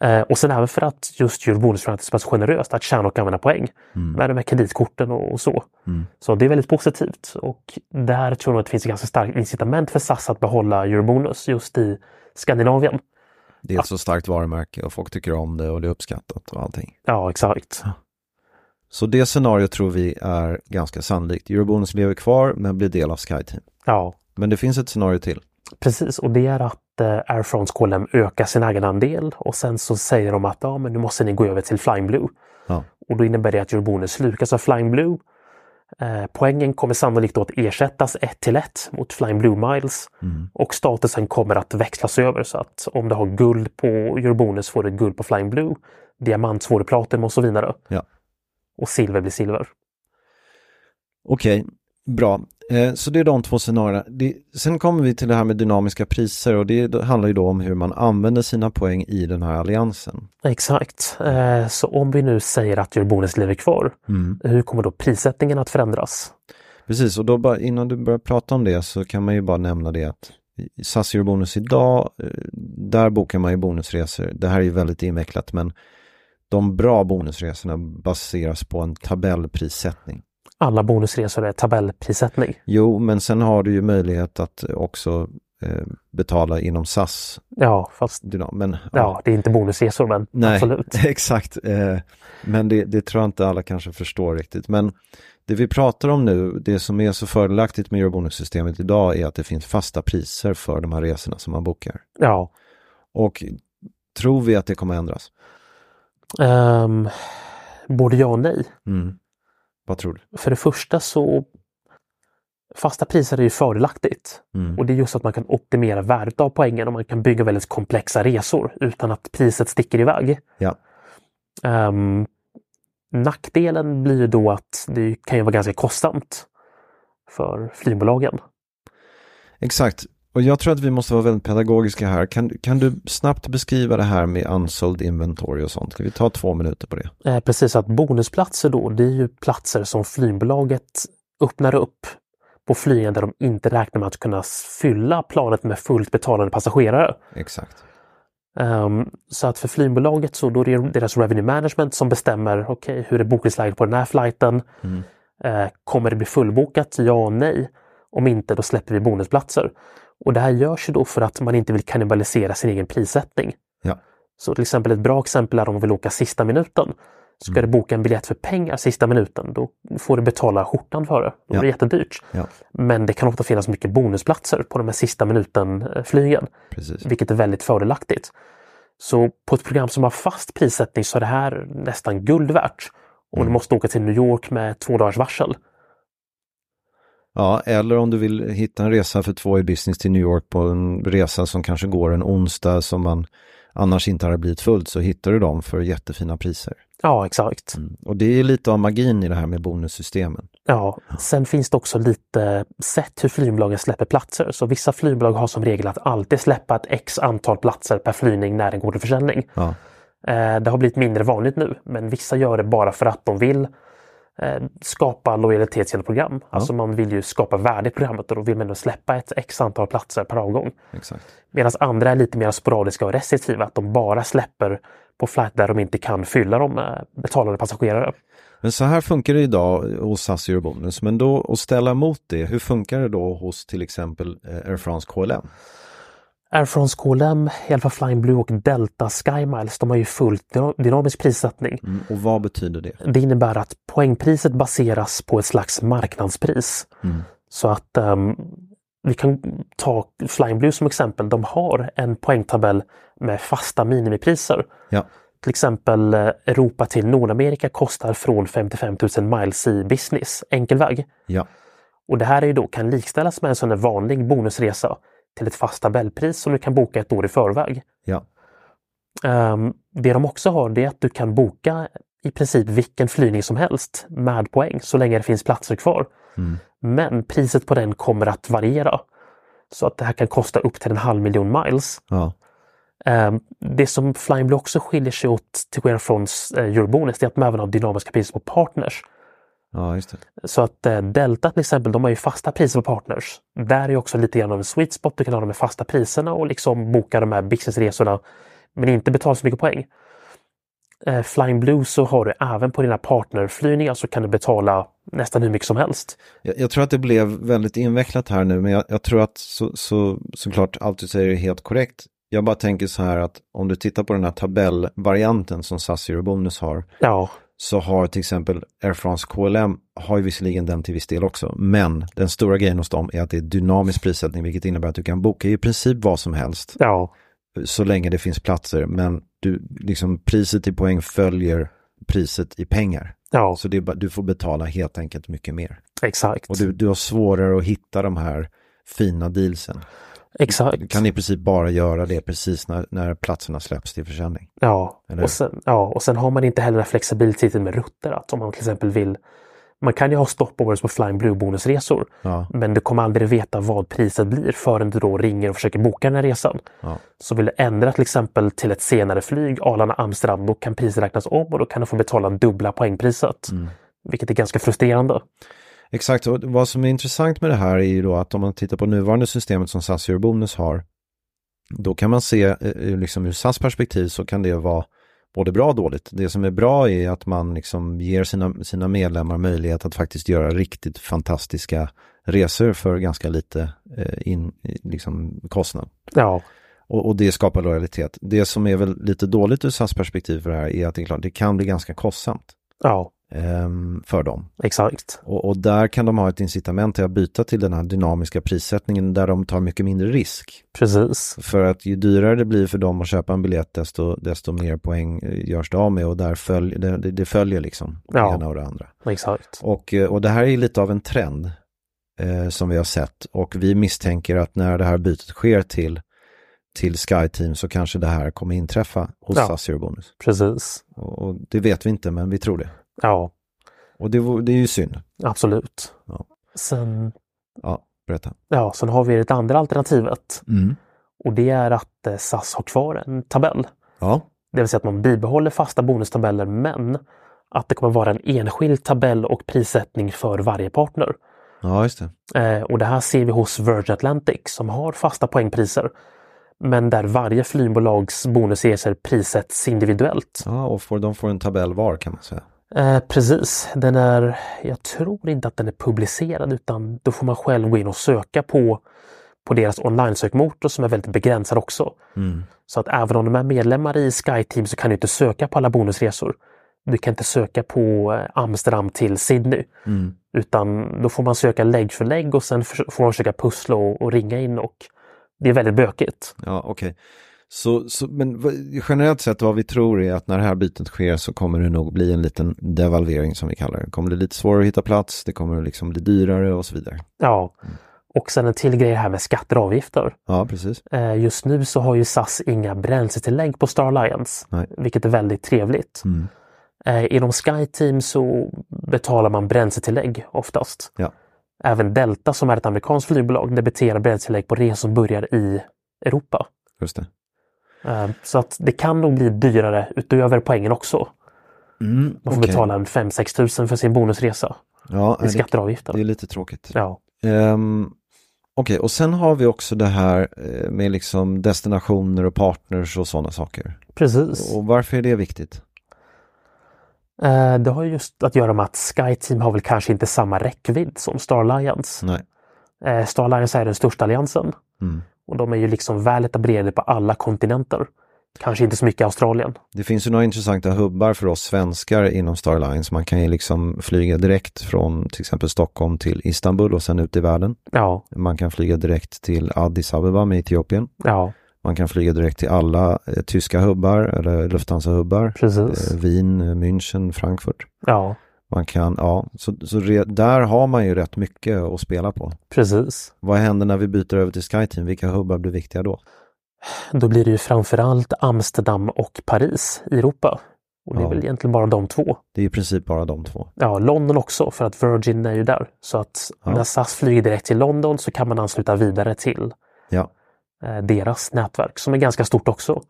[SPEAKER 4] Eh, och sen även för att just gör bonusprogrammet är så pass generöst att tjäna och använda poäng
[SPEAKER 3] Mm.
[SPEAKER 4] med de här kreditkorten och, och så.
[SPEAKER 3] Mm.
[SPEAKER 4] Så det är väldigt positivt och där tror jag att det finns ett ganska starkt incitament för SAS att behålla Eurobonus just i Skandinavien.
[SPEAKER 3] Det är ett så starkt varumärke och folk tycker om det och det är uppskattat och allting.
[SPEAKER 4] Ja, exakt.
[SPEAKER 3] Så det scenariot tror vi är ganska sannolikt. Eurobonus lever kvar men blir del av SkyTeam.
[SPEAKER 4] Ja,
[SPEAKER 3] Men det finns ett scenario till.
[SPEAKER 4] Precis, och det är att eh, Air France KLM ökar sin egenandel och sen så säger de att ja, men nu måste ni gå över till Flying Blue.
[SPEAKER 3] Ja.
[SPEAKER 4] Och då innebär det att Eurobonus slukas av Flying Blue. Eh, poängen kommer sannolikt då att ersättas 1 till 1 mot Flying Blue Miles
[SPEAKER 3] Mm.
[SPEAKER 4] och statusen kommer att växlas över så att om du har guld på Eurobonus får du guld på Flying Blue. Diamant får du platinum och så vidare
[SPEAKER 3] Ja.
[SPEAKER 4] och silver blir silver.
[SPEAKER 3] Okej, bra. Eh, Så det är de två scenarierna. Det, sen kommer vi till det här med dynamiska priser och det handlar ju då om hur man använder sina poäng i den här alliansen.
[SPEAKER 4] Exakt. Eh, Så om vi nu säger att Eurobonus lever kvar, hur kommer då prissättningen att förändras?
[SPEAKER 3] Precis, och då bara, innan du börjar prata om det så kan man ju bara nämna det att i SAS gör bonus idag, eh, där bokar man ju bonusresor. Det här är ju väldigt invecklat men de bra bonusresorna baseras på en tabellprissättning.
[SPEAKER 4] Alla bonusresor är tabellprissättning.
[SPEAKER 3] Jo, men sen har du ju möjlighet att också eh, betala inom SAS.
[SPEAKER 4] Ja, fast
[SPEAKER 3] dynam- Men,
[SPEAKER 4] ja, det är inte bonusresor, men
[SPEAKER 3] Nej, [laughs]
[SPEAKER 4] absolut.
[SPEAKER 3] exakt. Eh, men det, det tror jag inte alla kanske förstår riktigt. Men det vi pratar om nu, det som är så fördelaktigt med eurobonussystemet idag är att det finns fasta priser för de här resorna som man bokar.
[SPEAKER 4] Ja.
[SPEAKER 3] Och tror vi att det kommer ändras?
[SPEAKER 4] Um, både ja och nej.
[SPEAKER 3] Mm. Vad tror du?
[SPEAKER 4] För det första så Fasta priser är ju fördelaktigt
[SPEAKER 3] Mm.
[SPEAKER 4] och det är just att man kan optimera värdet av poängen och man kan bygga väldigt komplexa resor utan att priset sticker iväg.
[SPEAKER 3] Ja.
[SPEAKER 4] Ehm, nackdelen blir ju då att det kan ju vara ganska kostsamt för flygbolagen.
[SPEAKER 3] Exakt. Och jag tror att vi måste vara väldigt pedagogiska här. Kan, kan du snabbt beskriva det här med unsold inventory och sånt? Kan vi ta två minuter på det?
[SPEAKER 4] Eh, precis, att bonusplatser då, det är ju platser som flygbolaget öppnar upp på flygningar där de inte räknar med att kunna s- fylla planet med fullt betalande passagerare.
[SPEAKER 3] Exakt.
[SPEAKER 4] Ehm, så att för flygbolaget så då är det deras revenue management som bestämmer okej, hur är bokningsläget på den här flighten?
[SPEAKER 3] Mm.
[SPEAKER 4] Eh, kommer det bli fullbokat? Ja och nej. Om inte, då släpper vi bonusplatser. Och det här görs ju då för att man inte vill kannibalisera sin egen prissättning.
[SPEAKER 3] Ja.
[SPEAKER 4] Så till exempel ett bra exempel är om man vill åka sista minuten. Ska
[SPEAKER 3] Mm.
[SPEAKER 4] du boka en biljett för pengar sista minuten, då får du betala skjortan för det. Då
[SPEAKER 3] Ja.
[SPEAKER 4] är det jättedyrt.
[SPEAKER 3] Ja,
[SPEAKER 4] Men det kan ofta finnas mycket bonusplatser på de här sista eh, minuten-flygen
[SPEAKER 3] precis.
[SPEAKER 4] vilket är väldigt fördelaktigt. Så på ett program som har fast prissättning så är det här nästan guld värt. Om du måste åka till New York med två dagars varsel.
[SPEAKER 3] Ja, eller om du vill hitta en resa för två i business till New York på en resa som kanske går en onsdag som man annars inte hade blivit fullt så hittar du dem för jättefina priser. Mm.
[SPEAKER 4] Ja, exakt.
[SPEAKER 3] Och det är lite av magin i det här med bonussystemen.
[SPEAKER 4] Ja. Sen finns det också lite sätt hur flygbolagen släpper platser. Så vissa flygbolag har som regel att alltid släppa ett x antal platser per flygning när den går till försäljning.
[SPEAKER 3] Ja,
[SPEAKER 4] Eh, Det har blivit mindre vanligt nu, men vissa gör det bara för att de vill eh, skapa lojalitet genom program. Alltså man vill ju skapa värde i programmet och då vill man ändå släppa ett x antal platser per avgång.
[SPEAKER 3] exakt.
[SPEAKER 4] Medan andra är lite mer sporadiska och restriktiva, att de bara släpper på flight där de inte kan fylla dem med betalade passagerare.
[SPEAKER 3] Men så här funkar det idag hos SAS Eurobonus, men då att ställa mot det, hur funkar det då hos till exempel eh, Air France KLM?
[SPEAKER 4] Air France KLM, i alla fall Flying Blue och Delta Sky Miles, de har ju fullt dyna- dynamisk prissättning.
[SPEAKER 3] Mm, och vad betyder det?
[SPEAKER 4] Det innebär att poängpriset baseras på ett slags marknadspris. Så att ehm, vi kan ta Flying Blue som exempel. De har en poängtabell med fasta minimipriser.
[SPEAKER 3] Ja,
[SPEAKER 4] Till exempel eh, Europa till Nordamerika kostar från 55 000 miles i business, enkel väg.
[SPEAKER 3] ja,
[SPEAKER 4] Och det här är ju då, kan likställas med en sån här vanlig bonusresa till ett fast tabellpris som du kan boka ett år i förväg.
[SPEAKER 3] ja,
[SPEAKER 4] Ehm, det de också har det är att du kan boka i princip vilken flygning som helst med poäng så länge det finns platser kvar. Men priset på den kommer att variera. Så att det här kan kosta upp till en halv miljon miles.
[SPEAKER 3] ja,
[SPEAKER 4] Ehm, det som Flying Blue också skiljer sig åt till skillnad från eh, Eurobonus det är att de även har dynamiska priser på partners.
[SPEAKER 3] ja, just det.
[SPEAKER 4] Så att eh, Delta till exempel, de har ju fasta priser på partners. Där är också lite grann av en sweet spot. Du kan ha de här fasta priserna och liksom boka de här businessresorna men inte betala så mycket poäng. Eh, Flying Blue så har du även på dina partnerflygningar så kan du betala nästan hur mycket som helst.
[SPEAKER 3] Jag, jag tror att det blev väldigt invecklat här nu, men jag, jag tror att så, så, såklart allt du säger är helt korrekt. Jag bara tänker så här att om du tittar på den här tabellvarianten som SAS Eurobonus har,
[SPEAKER 4] Ja,
[SPEAKER 3] så har till exempel Air France KLM, har ju visserligen den till viss del också, men den stora grejen hos dem är att det är dynamisk prissättning, vilket innebär att du kan boka i princip vad som helst,
[SPEAKER 4] ja,
[SPEAKER 3] så länge det finns platser, men du, liksom, priset i poäng följer priset i pengar.
[SPEAKER 4] ja,
[SPEAKER 3] Så det är, bara- du får betala helt enkelt mycket mer.
[SPEAKER 4] exakt.
[SPEAKER 3] Och du, du har svårare att hitta de här fina dealsen. Du
[SPEAKER 4] exakt.
[SPEAKER 3] kan i princip bara göra det precis när, när platserna släpps till försäljning.
[SPEAKER 4] Ja.
[SPEAKER 3] Eller hur?
[SPEAKER 4] Och, sen, ja, och sen har man inte heller den här flexibiliteten med rutter. Att om man till exempel vill Man kan ju ha stopovers på Flying Blue-bonusresor.
[SPEAKER 3] Ja,
[SPEAKER 4] Men du kommer aldrig veta vad priset blir förrän du då ringer och försöker boka den här resan.
[SPEAKER 3] Ja.
[SPEAKER 4] Så vill du ändra till exempel till ett senare flyg, Arlanda-Amsterdam, då kan priset räknas om och då kan du få betala dubbla poängpriset.
[SPEAKER 3] Mm.
[SPEAKER 4] Vilket är ganska frustrerande.
[SPEAKER 3] exakt. Och vad som är intressant med det här är ju då att om man tittar på nuvarande systemet som SAS gör bonus har, då kan man se eh, ur liksom ur SAS perspektiv så kan det vara både bra och dåligt. Det som är bra är att man liksom ger sina, sina medlemmar möjlighet att faktiskt göra riktigt fantastiska resor för ganska lite eh, in, i- liksom kostnad.
[SPEAKER 4] Ja,
[SPEAKER 3] Och, och det skapar lojalitet. Det som är väl lite dåligt ur SAS perspektiv för det här är att det, är klart, det kan bli ganska kostsamt
[SPEAKER 4] ja,
[SPEAKER 3] ehm, för dem.
[SPEAKER 4] exakt.
[SPEAKER 3] Och, och där kan de ha ett incitament till att byta till den här dynamiska prissättningen där de tar mycket mindre risk.
[SPEAKER 4] Precis.
[SPEAKER 3] För att ju dyrare det blir för dem att köpa en biljett desto, desto mer poäng eh, görs det av med och där följ, det, det- det följer liksom
[SPEAKER 4] Ja.
[SPEAKER 3] det ena och det andra.
[SPEAKER 4] Exakt.
[SPEAKER 3] Och, eh, och det här är lite av en trend eh, som vi har sett och vi misstänker att när det här bytet sker till, till SkyTeam så kanske det här kommer inträffa hos
[SPEAKER 4] Ja.
[SPEAKER 3] SAS Eurobonus.
[SPEAKER 4] Precis.
[SPEAKER 3] Och, och det vet vi inte men vi tror det.
[SPEAKER 4] Ja,
[SPEAKER 3] Och det, vore- det är ju synd.
[SPEAKER 4] absolut.
[SPEAKER 3] Ja.
[SPEAKER 4] Sen,
[SPEAKER 3] Ja, berätta.
[SPEAKER 4] ja, sen har vi det andra alternativet
[SPEAKER 3] Mm.
[SPEAKER 4] och det är att eh, SAS har kvar en tabell.
[SPEAKER 3] Ja,
[SPEAKER 4] Det vill säga att man bibehåller fasta bonustabeller men att det kommer vara en enskild tabell och prissättning för varje partner.
[SPEAKER 3] ja just det.
[SPEAKER 4] Eh, och det här ser vi hos Virgin Atlantic som har fasta poängpriser. Men där varje flygbolags bonusresor prissätts individuellt.
[SPEAKER 3] Ja, och får, de får en tabell var kan man säga.
[SPEAKER 4] Eh, precis, den är, jag tror inte att den är publicerad utan då får man själv gå in och söka på, på deras online-sökmotor som är väldigt begränsad också. Så att även om de är medlemmar i SkyTeam så kan du inte söka på alla bonusresor. Du kan inte söka på eh, Amsterdam till Sydney. Utan då får man söka lägg för lägg och sen förs- får man försöka pussla och, och ringa in och det är väldigt bökigt.
[SPEAKER 3] Ja, okej. Så, så, men vad- generellt sett vad vi tror är att när det här bytet sker så kommer det nog bli en liten devalvering som vi kallar det. Det kommer bli lite svårare att hitta plats, det kommer liksom bli dyrare och så vidare.
[SPEAKER 4] Ja. Och sen en till grej här med skatter och avgifter.
[SPEAKER 3] Ja, precis.
[SPEAKER 4] Eh, Just nu så har ju SAS inga bränsletillägg på Star Alliance,
[SPEAKER 3] Nej.
[SPEAKER 4] vilket är väldigt trevligt.
[SPEAKER 3] Mm.
[SPEAKER 4] Eh, Inom SkyTeam så betalar man bränsletillägg oftast.
[SPEAKER 3] Ja.
[SPEAKER 4] Även Delta som är ett amerikanskt flygbolag debiterar bränsletillägg på resor som börjar i Europa.
[SPEAKER 3] Just det.
[SPEAKER 4] Eh, Så att det kan nog bli dyrare utöver poängen också.
[SPEAKER 3] Mm,
[SPEAKER 4] Man får
[SPEAKER 3] okej.
[SPEAKER 4] betala en 5-6 tusen för sin bonusresa
[SPEAKER 3] ja,
[SPEAKER 4] i
[SPEAKER 3] nej, det,
[SPEAKER 4] skatter och avgifter.
[SPEAKER 3] det är lite tråkigt.
[SPEAKER 4] Ja,
[SPEAKER 3] Ehm, Okej, och sen har vi också det här eh, med liksom destinationer och partners och sådana saker.
[SPEAKER 4] precis.
[SPEAKER 3] Och varför är det viktigt?
[SPEAKER 4] Eh, Det har ju just att göra med att SkyTeam har väl kanske inte samma räckvidd som Star Alliance.
[SPEAKER 3] Nej.
[SPEAKER 4] Eh, Star Alliance är den största alliansen.
[SPEAKER 3] Mm.
[SPEAKER 4] Och de är ju liksom väl etablerade på alla kontinenter. Kanske inte så mycket i Australien.
[SPEAKER 3] Det finns ju några intressanta hubbar för oss svenskar inom Star Alliance. Man kan ju liksom flyga direkt från till exempel Stockholm till Istanbul och sen ut i världen.
[SPEAKER 4] Ja,
[SPEAKER 3] Man kan flyga direkt till Addis Abeba med Etiopien.
[SPEAKER 4] ja,
[SPEAKER 3] Man kan flyga direkt till alla eh, tyska hubbar eller Lufthansa-hubbar.
[SPEAKER 4] precis.
[SPEAKER 3] Eh, Wien, eh, München, Frankfurt.
[SPEAKER 4] Ja,
[SPEAKER 3] Man kan, ja, så, så re, där har man ju rätt mycket att spela på.
[SPEAKER 4] precis.
[SPEAKER 3] Vad händer när vi byter över till SkyTeam? Vilka hubbar blir viktiga då?
[SPEAKER 4] Då blir det ju framförallt Amsterdam och Paris i Europa. Och det är
[SPEAKER 3] Ja.
[SPEAKER 4] väl egentligen bara de två.
[SPEAKER 3] Det är i princip bara de två.
[SPEAKER 4] Ja, London också för att Virgin är ju där. Så att
[SPEAKER 3] Ja.
[SPEAKER 4] när SAS flyger direkt till London så kan man ansluta vidare till
[SPEAKER 3] Ja.
[SPEAKER 4] eh, deras nätverk som är ganska stort också.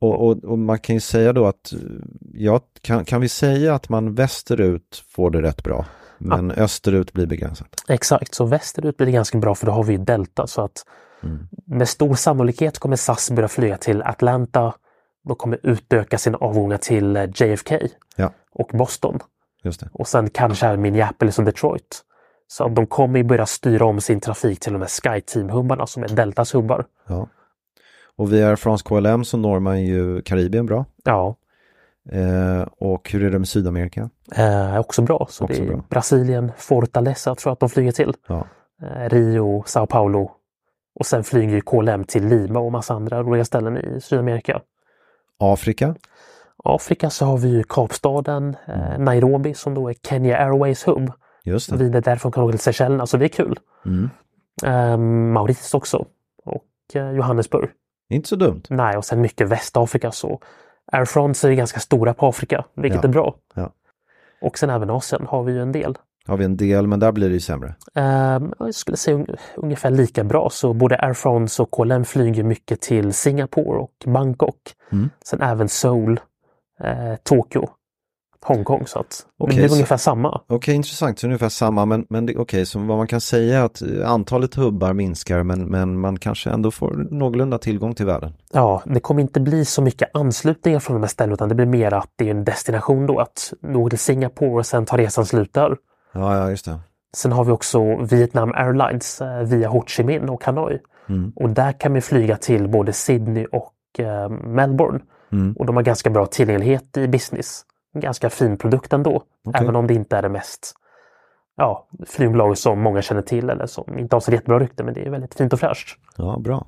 [SPEAKER 3] Och, och, och man kan ju säga då att, eh, ja, kan, kan vi säga att man västerut får det rätt bra, men österut blir begränsat?
[SPEAKER 4] Exakt, så västerut blir det ganska bra för då har vi ju Delta. Så att
[SPEAKER 3] Mm.
[SPEAKER 4] med stor sannolikhet kommer SAS börja flyga till Atlanta. De kommer utöka sina avgångar till eh, JFK
[SPEAKER 3] Ja,
[SPEAKER 4] och Boston.
[SPEAKER 3] just det.
[SPEAKER 4] Och sen kanske även Minneapolis och Detroit. Så att de kommer ju börja styra om sin trafik till de här SkyTeam-hubbarna som är Deltas hubbar.
[SPEAKER 3] Ja. Och via Air France KLM så når man ju Karibien bra.
[SPEAKER 4] Ja,
[SPEAKER 3] Eh, och hur är det med Sydamerika?
[SPEAKER 4] eh, också bra. Så
[SPEAKER 3] Också
[SPEAKER 4] det är
[SPEAKER 3] bra.
[SPEAKER 4] Brasilien, Fortaleza tror jag att de flyger till.
[SPEAKER 3] Ja,
[SPEAKER 4] Eh, Rio, Sao Paulo. Och sen flyger ju KLM till Lima och massa andra roliga ställen i Sydamerika.
[SPEAKER 3] Afrika?
[SPEAKER 4] Afrika så har vi ju Kapstaden,
[SPEAKER 3] Mm.
[SPEAKER 4] eh, Nairobi som då är Kenya Airways hub.
[SPEAKER 3] Just det.
[SPEAKER 4] Vidare därifrån kan man åka till Seychellerna, så det är kul.
[SPEAKER 3] Mm.
[SPEAKER 4] Eh, Mauritius också. Och eh, Johannesburg.
[SPEAKER 3] Inte så dumt.
[SPEAKER 4] Nej, och sen mycket Västafrika så. Air France är ju ganska stora på Afrika, vilket
[SPEAKER 3] Ja.
[SPEAKER 4] är bra. Och sen även Asien har vi ju en del.
[SPEAKER 3] Har vi en del, men där blir det ju sämre.
[SPEAKER 4] Ehm, jag skulle säga un ungefär lika bra. Så både Air France och KLM flyger mycket till Singapore och Bangkok.
[SPEAKER 3] Mm.
[SPEAKER 4] Sen även Seoul, eh, Tokyo, Hongkong. Så att
[SPEAKER 3] Okej,
[SPEAKER 4] det blir
[SPEAKER 3] så-
[SPEAKER 4] ungefär samma.
[SPEAKER 3] Okej, intressant. Så ungefär samma, men, men det- okej, så vad man kan säga är att eh, antalet hubbar minskar, men, men man kanske ändå får någorlunda tillgång till världen.
[SPEAKER 4] Ja, det kommer inte bli så mycket anslutningar från de här ställena utan det blir mer att det är en destination då. Att du åker till Singapore och sen tar resan slut där.
[SPEAKER 3] Ja, ja, just det.
[SPEAKER 4] Sen har vi också Vietnam Airlines eh, via Ho Chi Minh och Hanoi.
[SPEAKER 3] Mm.
[SPEAKER 4] Och där kan vi flyga till både Sydney och eh, Melbourne.
[SPEAKER 3] Mm.
[SPEAKER 4] Och de har ganska bra tillgänglighet i business. En ganska fin produkt ändå.
[SPEAKER 3] Okej.
[SPEAKER 4] Även om det inte är det mest ja, flygbolag som många känner till eller som inte har så jättebra rykte. Men det är väldigt fint och fräscht.
[SPEAKER 3] Ja, bra.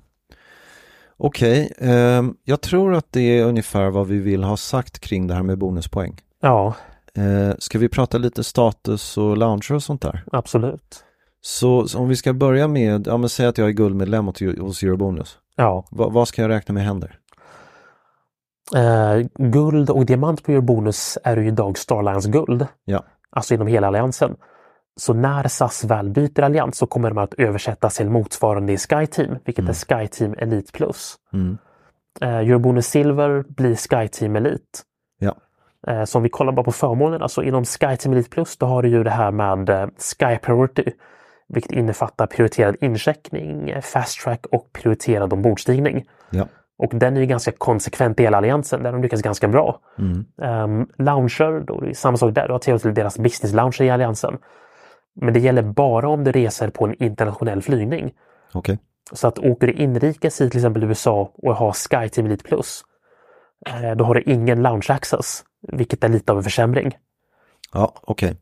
[SPEAKER 3] Okej, ehm, jag tror att det är ungefär vad vi vill ha sagt kring det här med bonuspoäng.
[SPEAKER 4] Ja,
[SPEAKER 3] Eh, ska vi prata lite status och lounger och sånt där?
[SPEAKER 4] absolut.
[SPEAKER 3] Så, så om vi ska börja med, ja men säg att jag är guldmedlem åt- hos Eurobonus.
[SPEAKER 4] Ja,
[SPEAKER 3] Va, vad ska jag räkna med händer?
[SPEAKER 4] eh, guld och diamant på Eurobonus är ju idag Starlines guld.
[SPEAKER 3] Ja,
[SPEAKER 4] alltså inom hela alliansen. Så när SAS väl byter allians så kommer de att översättas till motsvarande i SkyTeam, vilket är SkyTeam Elite Plus.
[SPEAKER 3] Mm.
[SPEAKER 4] Eh, Eurobonus Silver blir SkyTeam Elite.
[SPEAKER 3] ja,
[SPEAKER 4] Eh, så om vi kollar bara på förmånerna så inom SkyTeam Elite Plus då har du ju det här med eh, Sky Priority, vilket innefattar prioriterad incheckning, eh, fast track och prioriterad ombordstigning.
[SPEAKER 3] ja,
[SPEAKER 4] Och den är ju ganska konsekvent i hela alliansen, där de lyckas ganska bra. Um, lounger, då är det samma sak där, du har tillgång till deras business lounger i alliansen. Men det gäller bara om du reser på en internationell flygning.
[SPEAKER 3] okej.
[SPEAKER 4] Så att åker du inrikes i till exempel USA och har SkyTeam Elite Plus, eh, då har du ingen lounge access, vilket är lite av en försämring.
[SPEAKER 3] Ja, okej.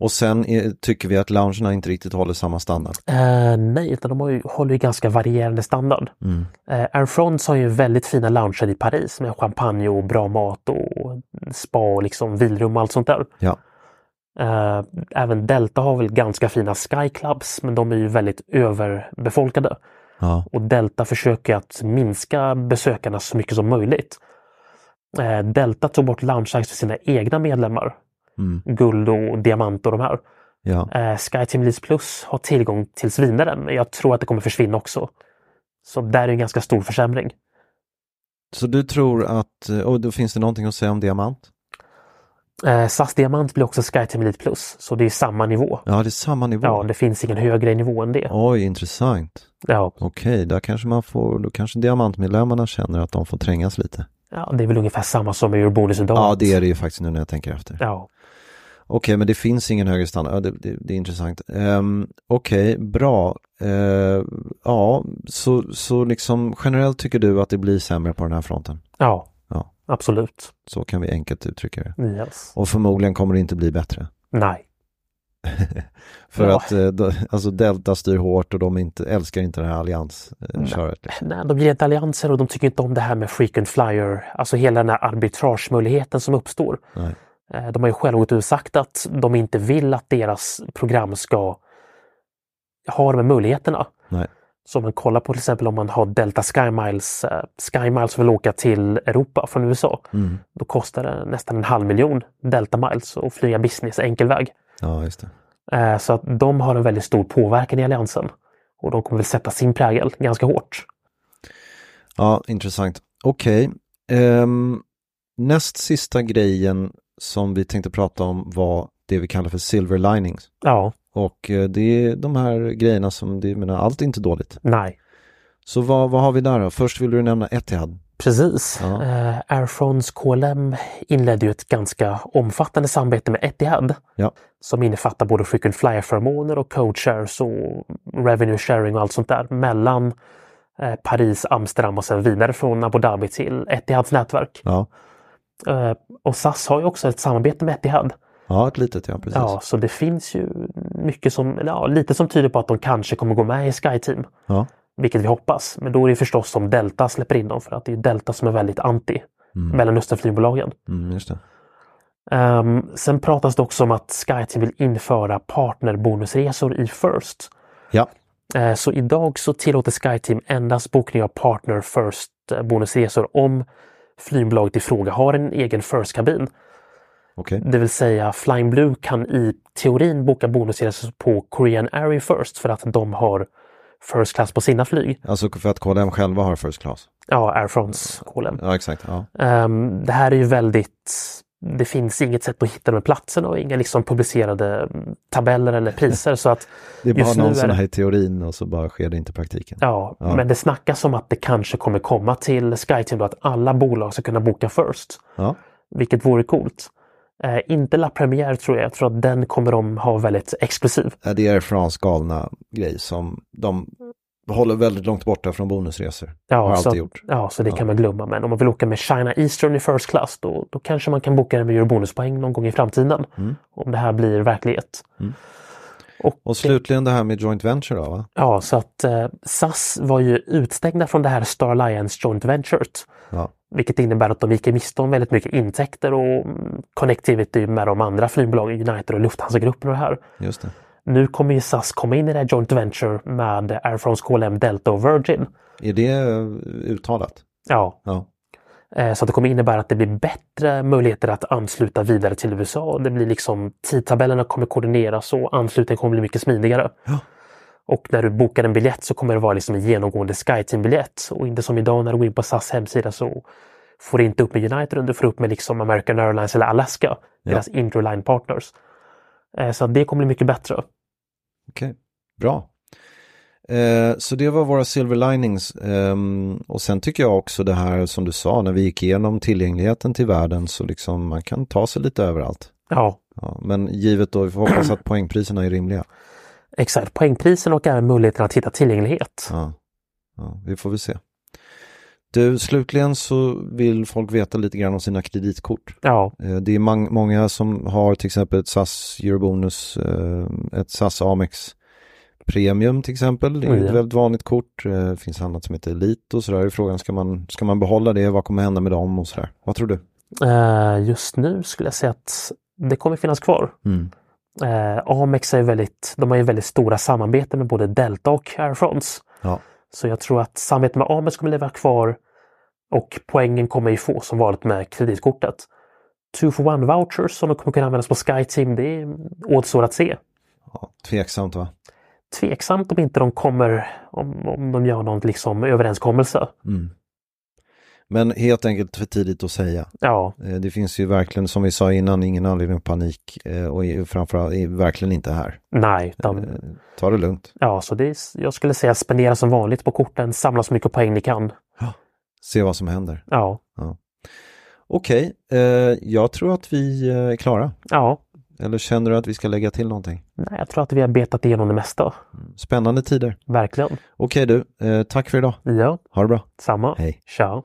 [SPEAKER 3] Och sen eh, tycker vi att loungerna inte riktigt håller samma standard.
[SPEAKER 4] Eh, nej, utan de har ju, håller ju ganska varierande standard.
[SPEAKER 3] Mm.
[SPEAKER 4] Eh, Air France har ju väldigt fina lounger i Paris med champagne och bra mat och spa och liksom vilrum och allt sånt där.
[SPEAKER 3] Ja,
[SPEAKER 4] Eh, även Delta har väl ganska fina skyclubs men de är ju väldigt överbefolkade.
[SPEAKER 3] ja,
[SPEAKER 4] Och Delta försöker att minska besökarna så mycket som möjligt. Eh, Delta tog bort loungeacts för sina egna medlemmar.
[SPEAKER 3] Mm.
[SPEAKER 4] Guld och diamant och de här.
[SPEAKER 3] ja.
[SPEAKER 4] Eh, SkyTeam Lease Plus har tillgång till svinare men jag tror att det kommer försvinna också. Så där är en ganska stor försämring.
[SPEAKER 3] Så du tror att, eh, och då finns det någonting att säga om diamant?
[SPEAKER 4] Eh, SAS Diamant blir också SkyTeam Elite Plus, så det är samma nivå.
[SPEAKER 3] Ja, det är samma nivå.
[SPEAKER 4] Ja, det finns ingen högre nivå än det.
[SPEAKER 3] Oj, intressant.
[SPEAKER 4] Ja,
[SPEAKER 3] Okej, där kanske man får, då kanske diamantmedlemmarna känner att de får trängas lite.
[SPEAKER 4] ja det är väl ungefär samma som med Eurobonus idag.
[SPEAKER 3] Ja, det är det ju faktiskt nu när jag tänker efter.
[SPEAKER 4] Ja,
[SPEAKER 3] Okej, men det finns ingen högre standard. Ja, det, det, det är intressant. Um, Okej, bra. Eh, ja, så, så liksom generellt tycker du att det blir sämre på den här fronten?
[SPEAKER 4] ja,
[SPEAKER 3] Ja,
[SPEAKER 4] absolut.
[SPEAKER 3] så kan vi enkelt uttrycka det.
[SPEAKER 4] Yes.
[SPEAKER 3] Och förmodligen kommer det inte bli bättre.
[SPEAKER 4] Nej.
[SPEAKER 3] För
[SPEAKER 4] Ja.
[SPEAKER 3] att eh, då- alltså Delta styr hårt och de inte, älskar inte det här alliansköret.
[SPEAKER 4] Nej, de blir ett allianser och de tycker inte om det här med frequent flyer, alltså hela den här arbitragemöjligheten som uppstår.
[SPEAKER 3] Nej.
[SPEAKER 4] Eh, De har ju själva gått ut och sagt att de inte vill att deras program ska ha de här möjligheterna.
[SPEAKER 3] Nej.
[SPEAKER 4] Så om man kollar på till exempel om man har Delta Sky Miles, eh, Sky Miles vill åka till Europa från USA.
[SPEAKER 3] Mm.
[SPEAKER 4] Då kostar det nästan en halv miljon Delta Miles att flyga business enkel väg.
[SPEAKER 3] Ja, just det.
[SPEAKER 4] Eh, Så att de har en väldigt stor påverkan i alliansen. Och de kommer väl sätta sin prägel ganska hårt.
[SPEAKER 3] Ja, intressant. Okej. Ehm, näst sista grejen som vi tänkte prata om var det vi kallar för silver linings.
[SPEAKER 4] Ja,
[SPEAKER 3] Och eh, det är de här grejerna som, det, jag menar, allt är inte dåligt.
[SPEAKER 4] nej.
[SPEAKER 3] Så vad, vad har vi där då? Först vill du nämna Etihad.
[SPEAKER 4] Precis.
[SPEAKER 3] Ja.
[SPEAKER 4] Eh, Air France KLM inledde ju ett ganska omfattande samarbete med Etihad.
[SPEAKER 3] Ja,
[SPEAKER 4] som innefattar både frequent flyer-förmåner och code shares och revenue sharing och allt sånt där mellan eh, Paris, Amsterdam och sen vidare från Abu Dhabi till Etihads nätverk.
[SPEAKER 3] ja,
[SPEAKER 4] Eh, och SAS har ju också ett samarbete med Etihad.
[SPEAKER 3] ja ett litet ja, precis.
[SPEAKER 4] Ja,
[SPEAKER 3] Ja,
[SPEAKER 4] så det finns ju mycket som, eller ja, lite som tyder på att de kanske kommer gå med i SkyTeam.
[SPEAKER 3] ja,
[SPEAKER 4] Vilket vi hoppas. Men då är det förstås om Delta släpper in dem för att det är Delta som är väldigt anti Mellanösternflygbolagen.
[SPEAKER 3] mm, just det.
[SPEAKER 4] Ehm, sen pratas det också om att SkyTeam vill införa partnerbonusresor i First.
[SPEAKER 3] Ja,
[SPEAKER 4] Eh, Så idag så tillåter SkyTeam endast bokning av partner first eh, bonusresor om flygbolaget i fråga har en egen first-kabin.
[SPEAKER 3] Okej.
[SPEAKER 4] Det vill säga Flying Blue kan i teorin boka bonusresor på Korean Air First för att de har First Class på sina flyg.
[SPEAKER 3] Alltså för att KLM själva har first class.
[SPEAKER 4] Ja, Air France, KLM.
[SPEAKER 3] Ja, exakt. Ja.
[SPEAKER 4] Ehm, det här är ju väldigt... Det finns inget sätt att hitta de här platserna och inga liksom publicerade mm, tabeller eller priser. så att
[SPEAKER 3] Det är bara
[SPEAKER 4] Just nu
[SPEAKER 3] någon
[SPEAKER 4] är
[SPEAKER 3] sån
[SPEAKER 4] det-
[SPEAKER 3] här i teorin och så bara sker det inte i praktiken.
[SPEAKER 4] Ja,
[SPEAKER 3] Ja.
[SPEAKER 4] men det snackas om att det kanske kommer komma till SkyTeam då att alla bolag ska kunna boka first.
[SPEAKER 3] Ja.
[SPEAKER 4] Vilket vore coolt. Eh, inte La Première tror jag. Jag tror att den kommer de ha väldigt exklusiv.
[SPEAKER 3] Ja, Det är Frans galna grej som de håller väldigt långt borta från bonusresor. har
[SPEAKER 4] så,
[SPEAKER 3] alltid
[SPEAKER 4] att-
[SPEAKER 3] gjort.
[SPEAKER 4] Ja, så det
[SPEAKER 3] Ja.
[SPEAKER 4] kan man glömma. Men om man vill åka med China Eastern i First Class då, då kanske man kan boka den med Eurobonuspoäng någon gång i framtiden.
[SPEAKER 3] Mm.
[SPEAKER 4] Om det här blir verklighet.
[SPEAKER 3] Och slutligen det här med joint venture då, va?
[SPEAKER 4] Ja, så att eh, SAS var ju utstängda från det här Star Alliance Joint Venturet.
[SPEAKER 3] Ja.
[SPEAKER 4] Vilket innebär att de gick miste om väldigt mycket intäkter och mm, connectivity med de andra flygbolagen, United och Lufthansa-gruppen och det här.
[SPEAKER 3] Just det.
[SPEAKER 4] Nu kommer ju SAS komma in i det här Joint Venture med Air France, KLM, Delta och Virgin.
[SPEAKER 3] Är det eh, uttalat?
[SPEAKER 4] Ja,
[SPEAKER 3] Ja.
[SPEAKER 4] eh, så att det kommer innebära att det blir bättre möjligheter att ansluta vidare till USA. Det blir liksom tidtabellerna kommer koordineras och anslutningen kommer bli mycket smidigare.
[SPEAKER 3] Ja.
[SPEAKER 4] Och när du bokar en biljett så kommer det vara liksom en genomgående SkyTeam-biljett och inte som idag när du går in på SAS hemsida så får du inte upp med United, du får upp med liksom American Airlines eller Alaska, deras introline partners. Eh, Så att det kommer bli mycket bättre.
[SPEAKER 3] Okej, bra. Eh, så det var våra silver linings. Ehm, och sen tycker jag också det här som du sa, när vi gick igenom tillgängligheten till världen så liksom man kan ta sig lite överallt.
[SPEAKER 4] Ja,
[SPEAKER 3] Ja, men givet då, vi får hoppas att poängpriserna är rimliga.
[SPEAKER 4] Exakt, poängprisen och även möjligheten att hitta tillgänglighet.
[SPEAKER 3] Ja, ja, vi får väl se. Du, slutligen så vill folk veta lite grann om sina kreditkort.
[SPEAKER 4] Ja,
[SPEAKER 3] Eh, Det är mang- många som har till exempel ett SAS Eurobonus, eh, ett SAS Amex Premium till exempel. Det är
[SPEAKER 4] Oj,
[SPEAKER 3] ett
[SPEAKER 4] ja.
[SPEAKER 3] väldigt vanligt kort. Eh, Det finns annat som heter Elite och sådär. Det är Frågan ska man, ska man behålla det? Vad kommer hända med dem och sådär? Vad tror du?
[SPEAKER 4] eh, just nu skulle jag säga att det kommer finnas kvar. Eh, Amex är väldigt, de har ju väldigt stora samarbeten med både Delta och Air France.
[SPEAKER 3] Ja.
[SPEAKER 4] Så jag tror att samarbetet med Amex kommer leva kvar och poängen kommer ju få som vanligt med kreditkortet. Two for one vouchers som de kommer kunna användas på SkyTeam, det är återstår att se.
[SPEAKER 3] ja. Tveksamt va?
[SPEAKER 4] Tveksamt om inte de kommer, om, om de gör någon liksom överenskommelse.
[SPEAKER 3] Men helt enkelt för tidigt att säga.
[SPEAKER 4] Ja,
[SPEAKER 3] Eh, Det finns ju verkligen, som vi sa innan, ingen anledning att panik eh, och är framförallt är verkligen inte här.
[SPEAKER 4] nej. Utan
[SPEAKER 3] Eh, Ta det lugnt.
[SPEAKER 4] Ja, så det är, jag skulle säga spendera som vanligt på korten, samla så mycket poäng ni kan.
[SPEAKER 3] Se vad som händer.
[SPEAKER 4] Ja,
[SPEAKER 3] Okej, eh, jag tror att vi eh, är klara.
[SPEAKER 4] ja.
[SPEAKER 3] Eller känner du att vi ska lägga till någonting?
[SPEAKER 4] Nej, jag tror att vi har betat igenom det mesta.
[SPEAKER 3] Spännande tider.
[SPEAKER 4] Verkligen.
[SPEAKER 3] Okej du, eh, tack för idag.
[SPEAKER 4] Ja,
[SPEAKER 3] Ha det bra.
[SPEAKER 4] samma.
[SPEAKER 3] Hej.
[SPEAKER 4] Ciao.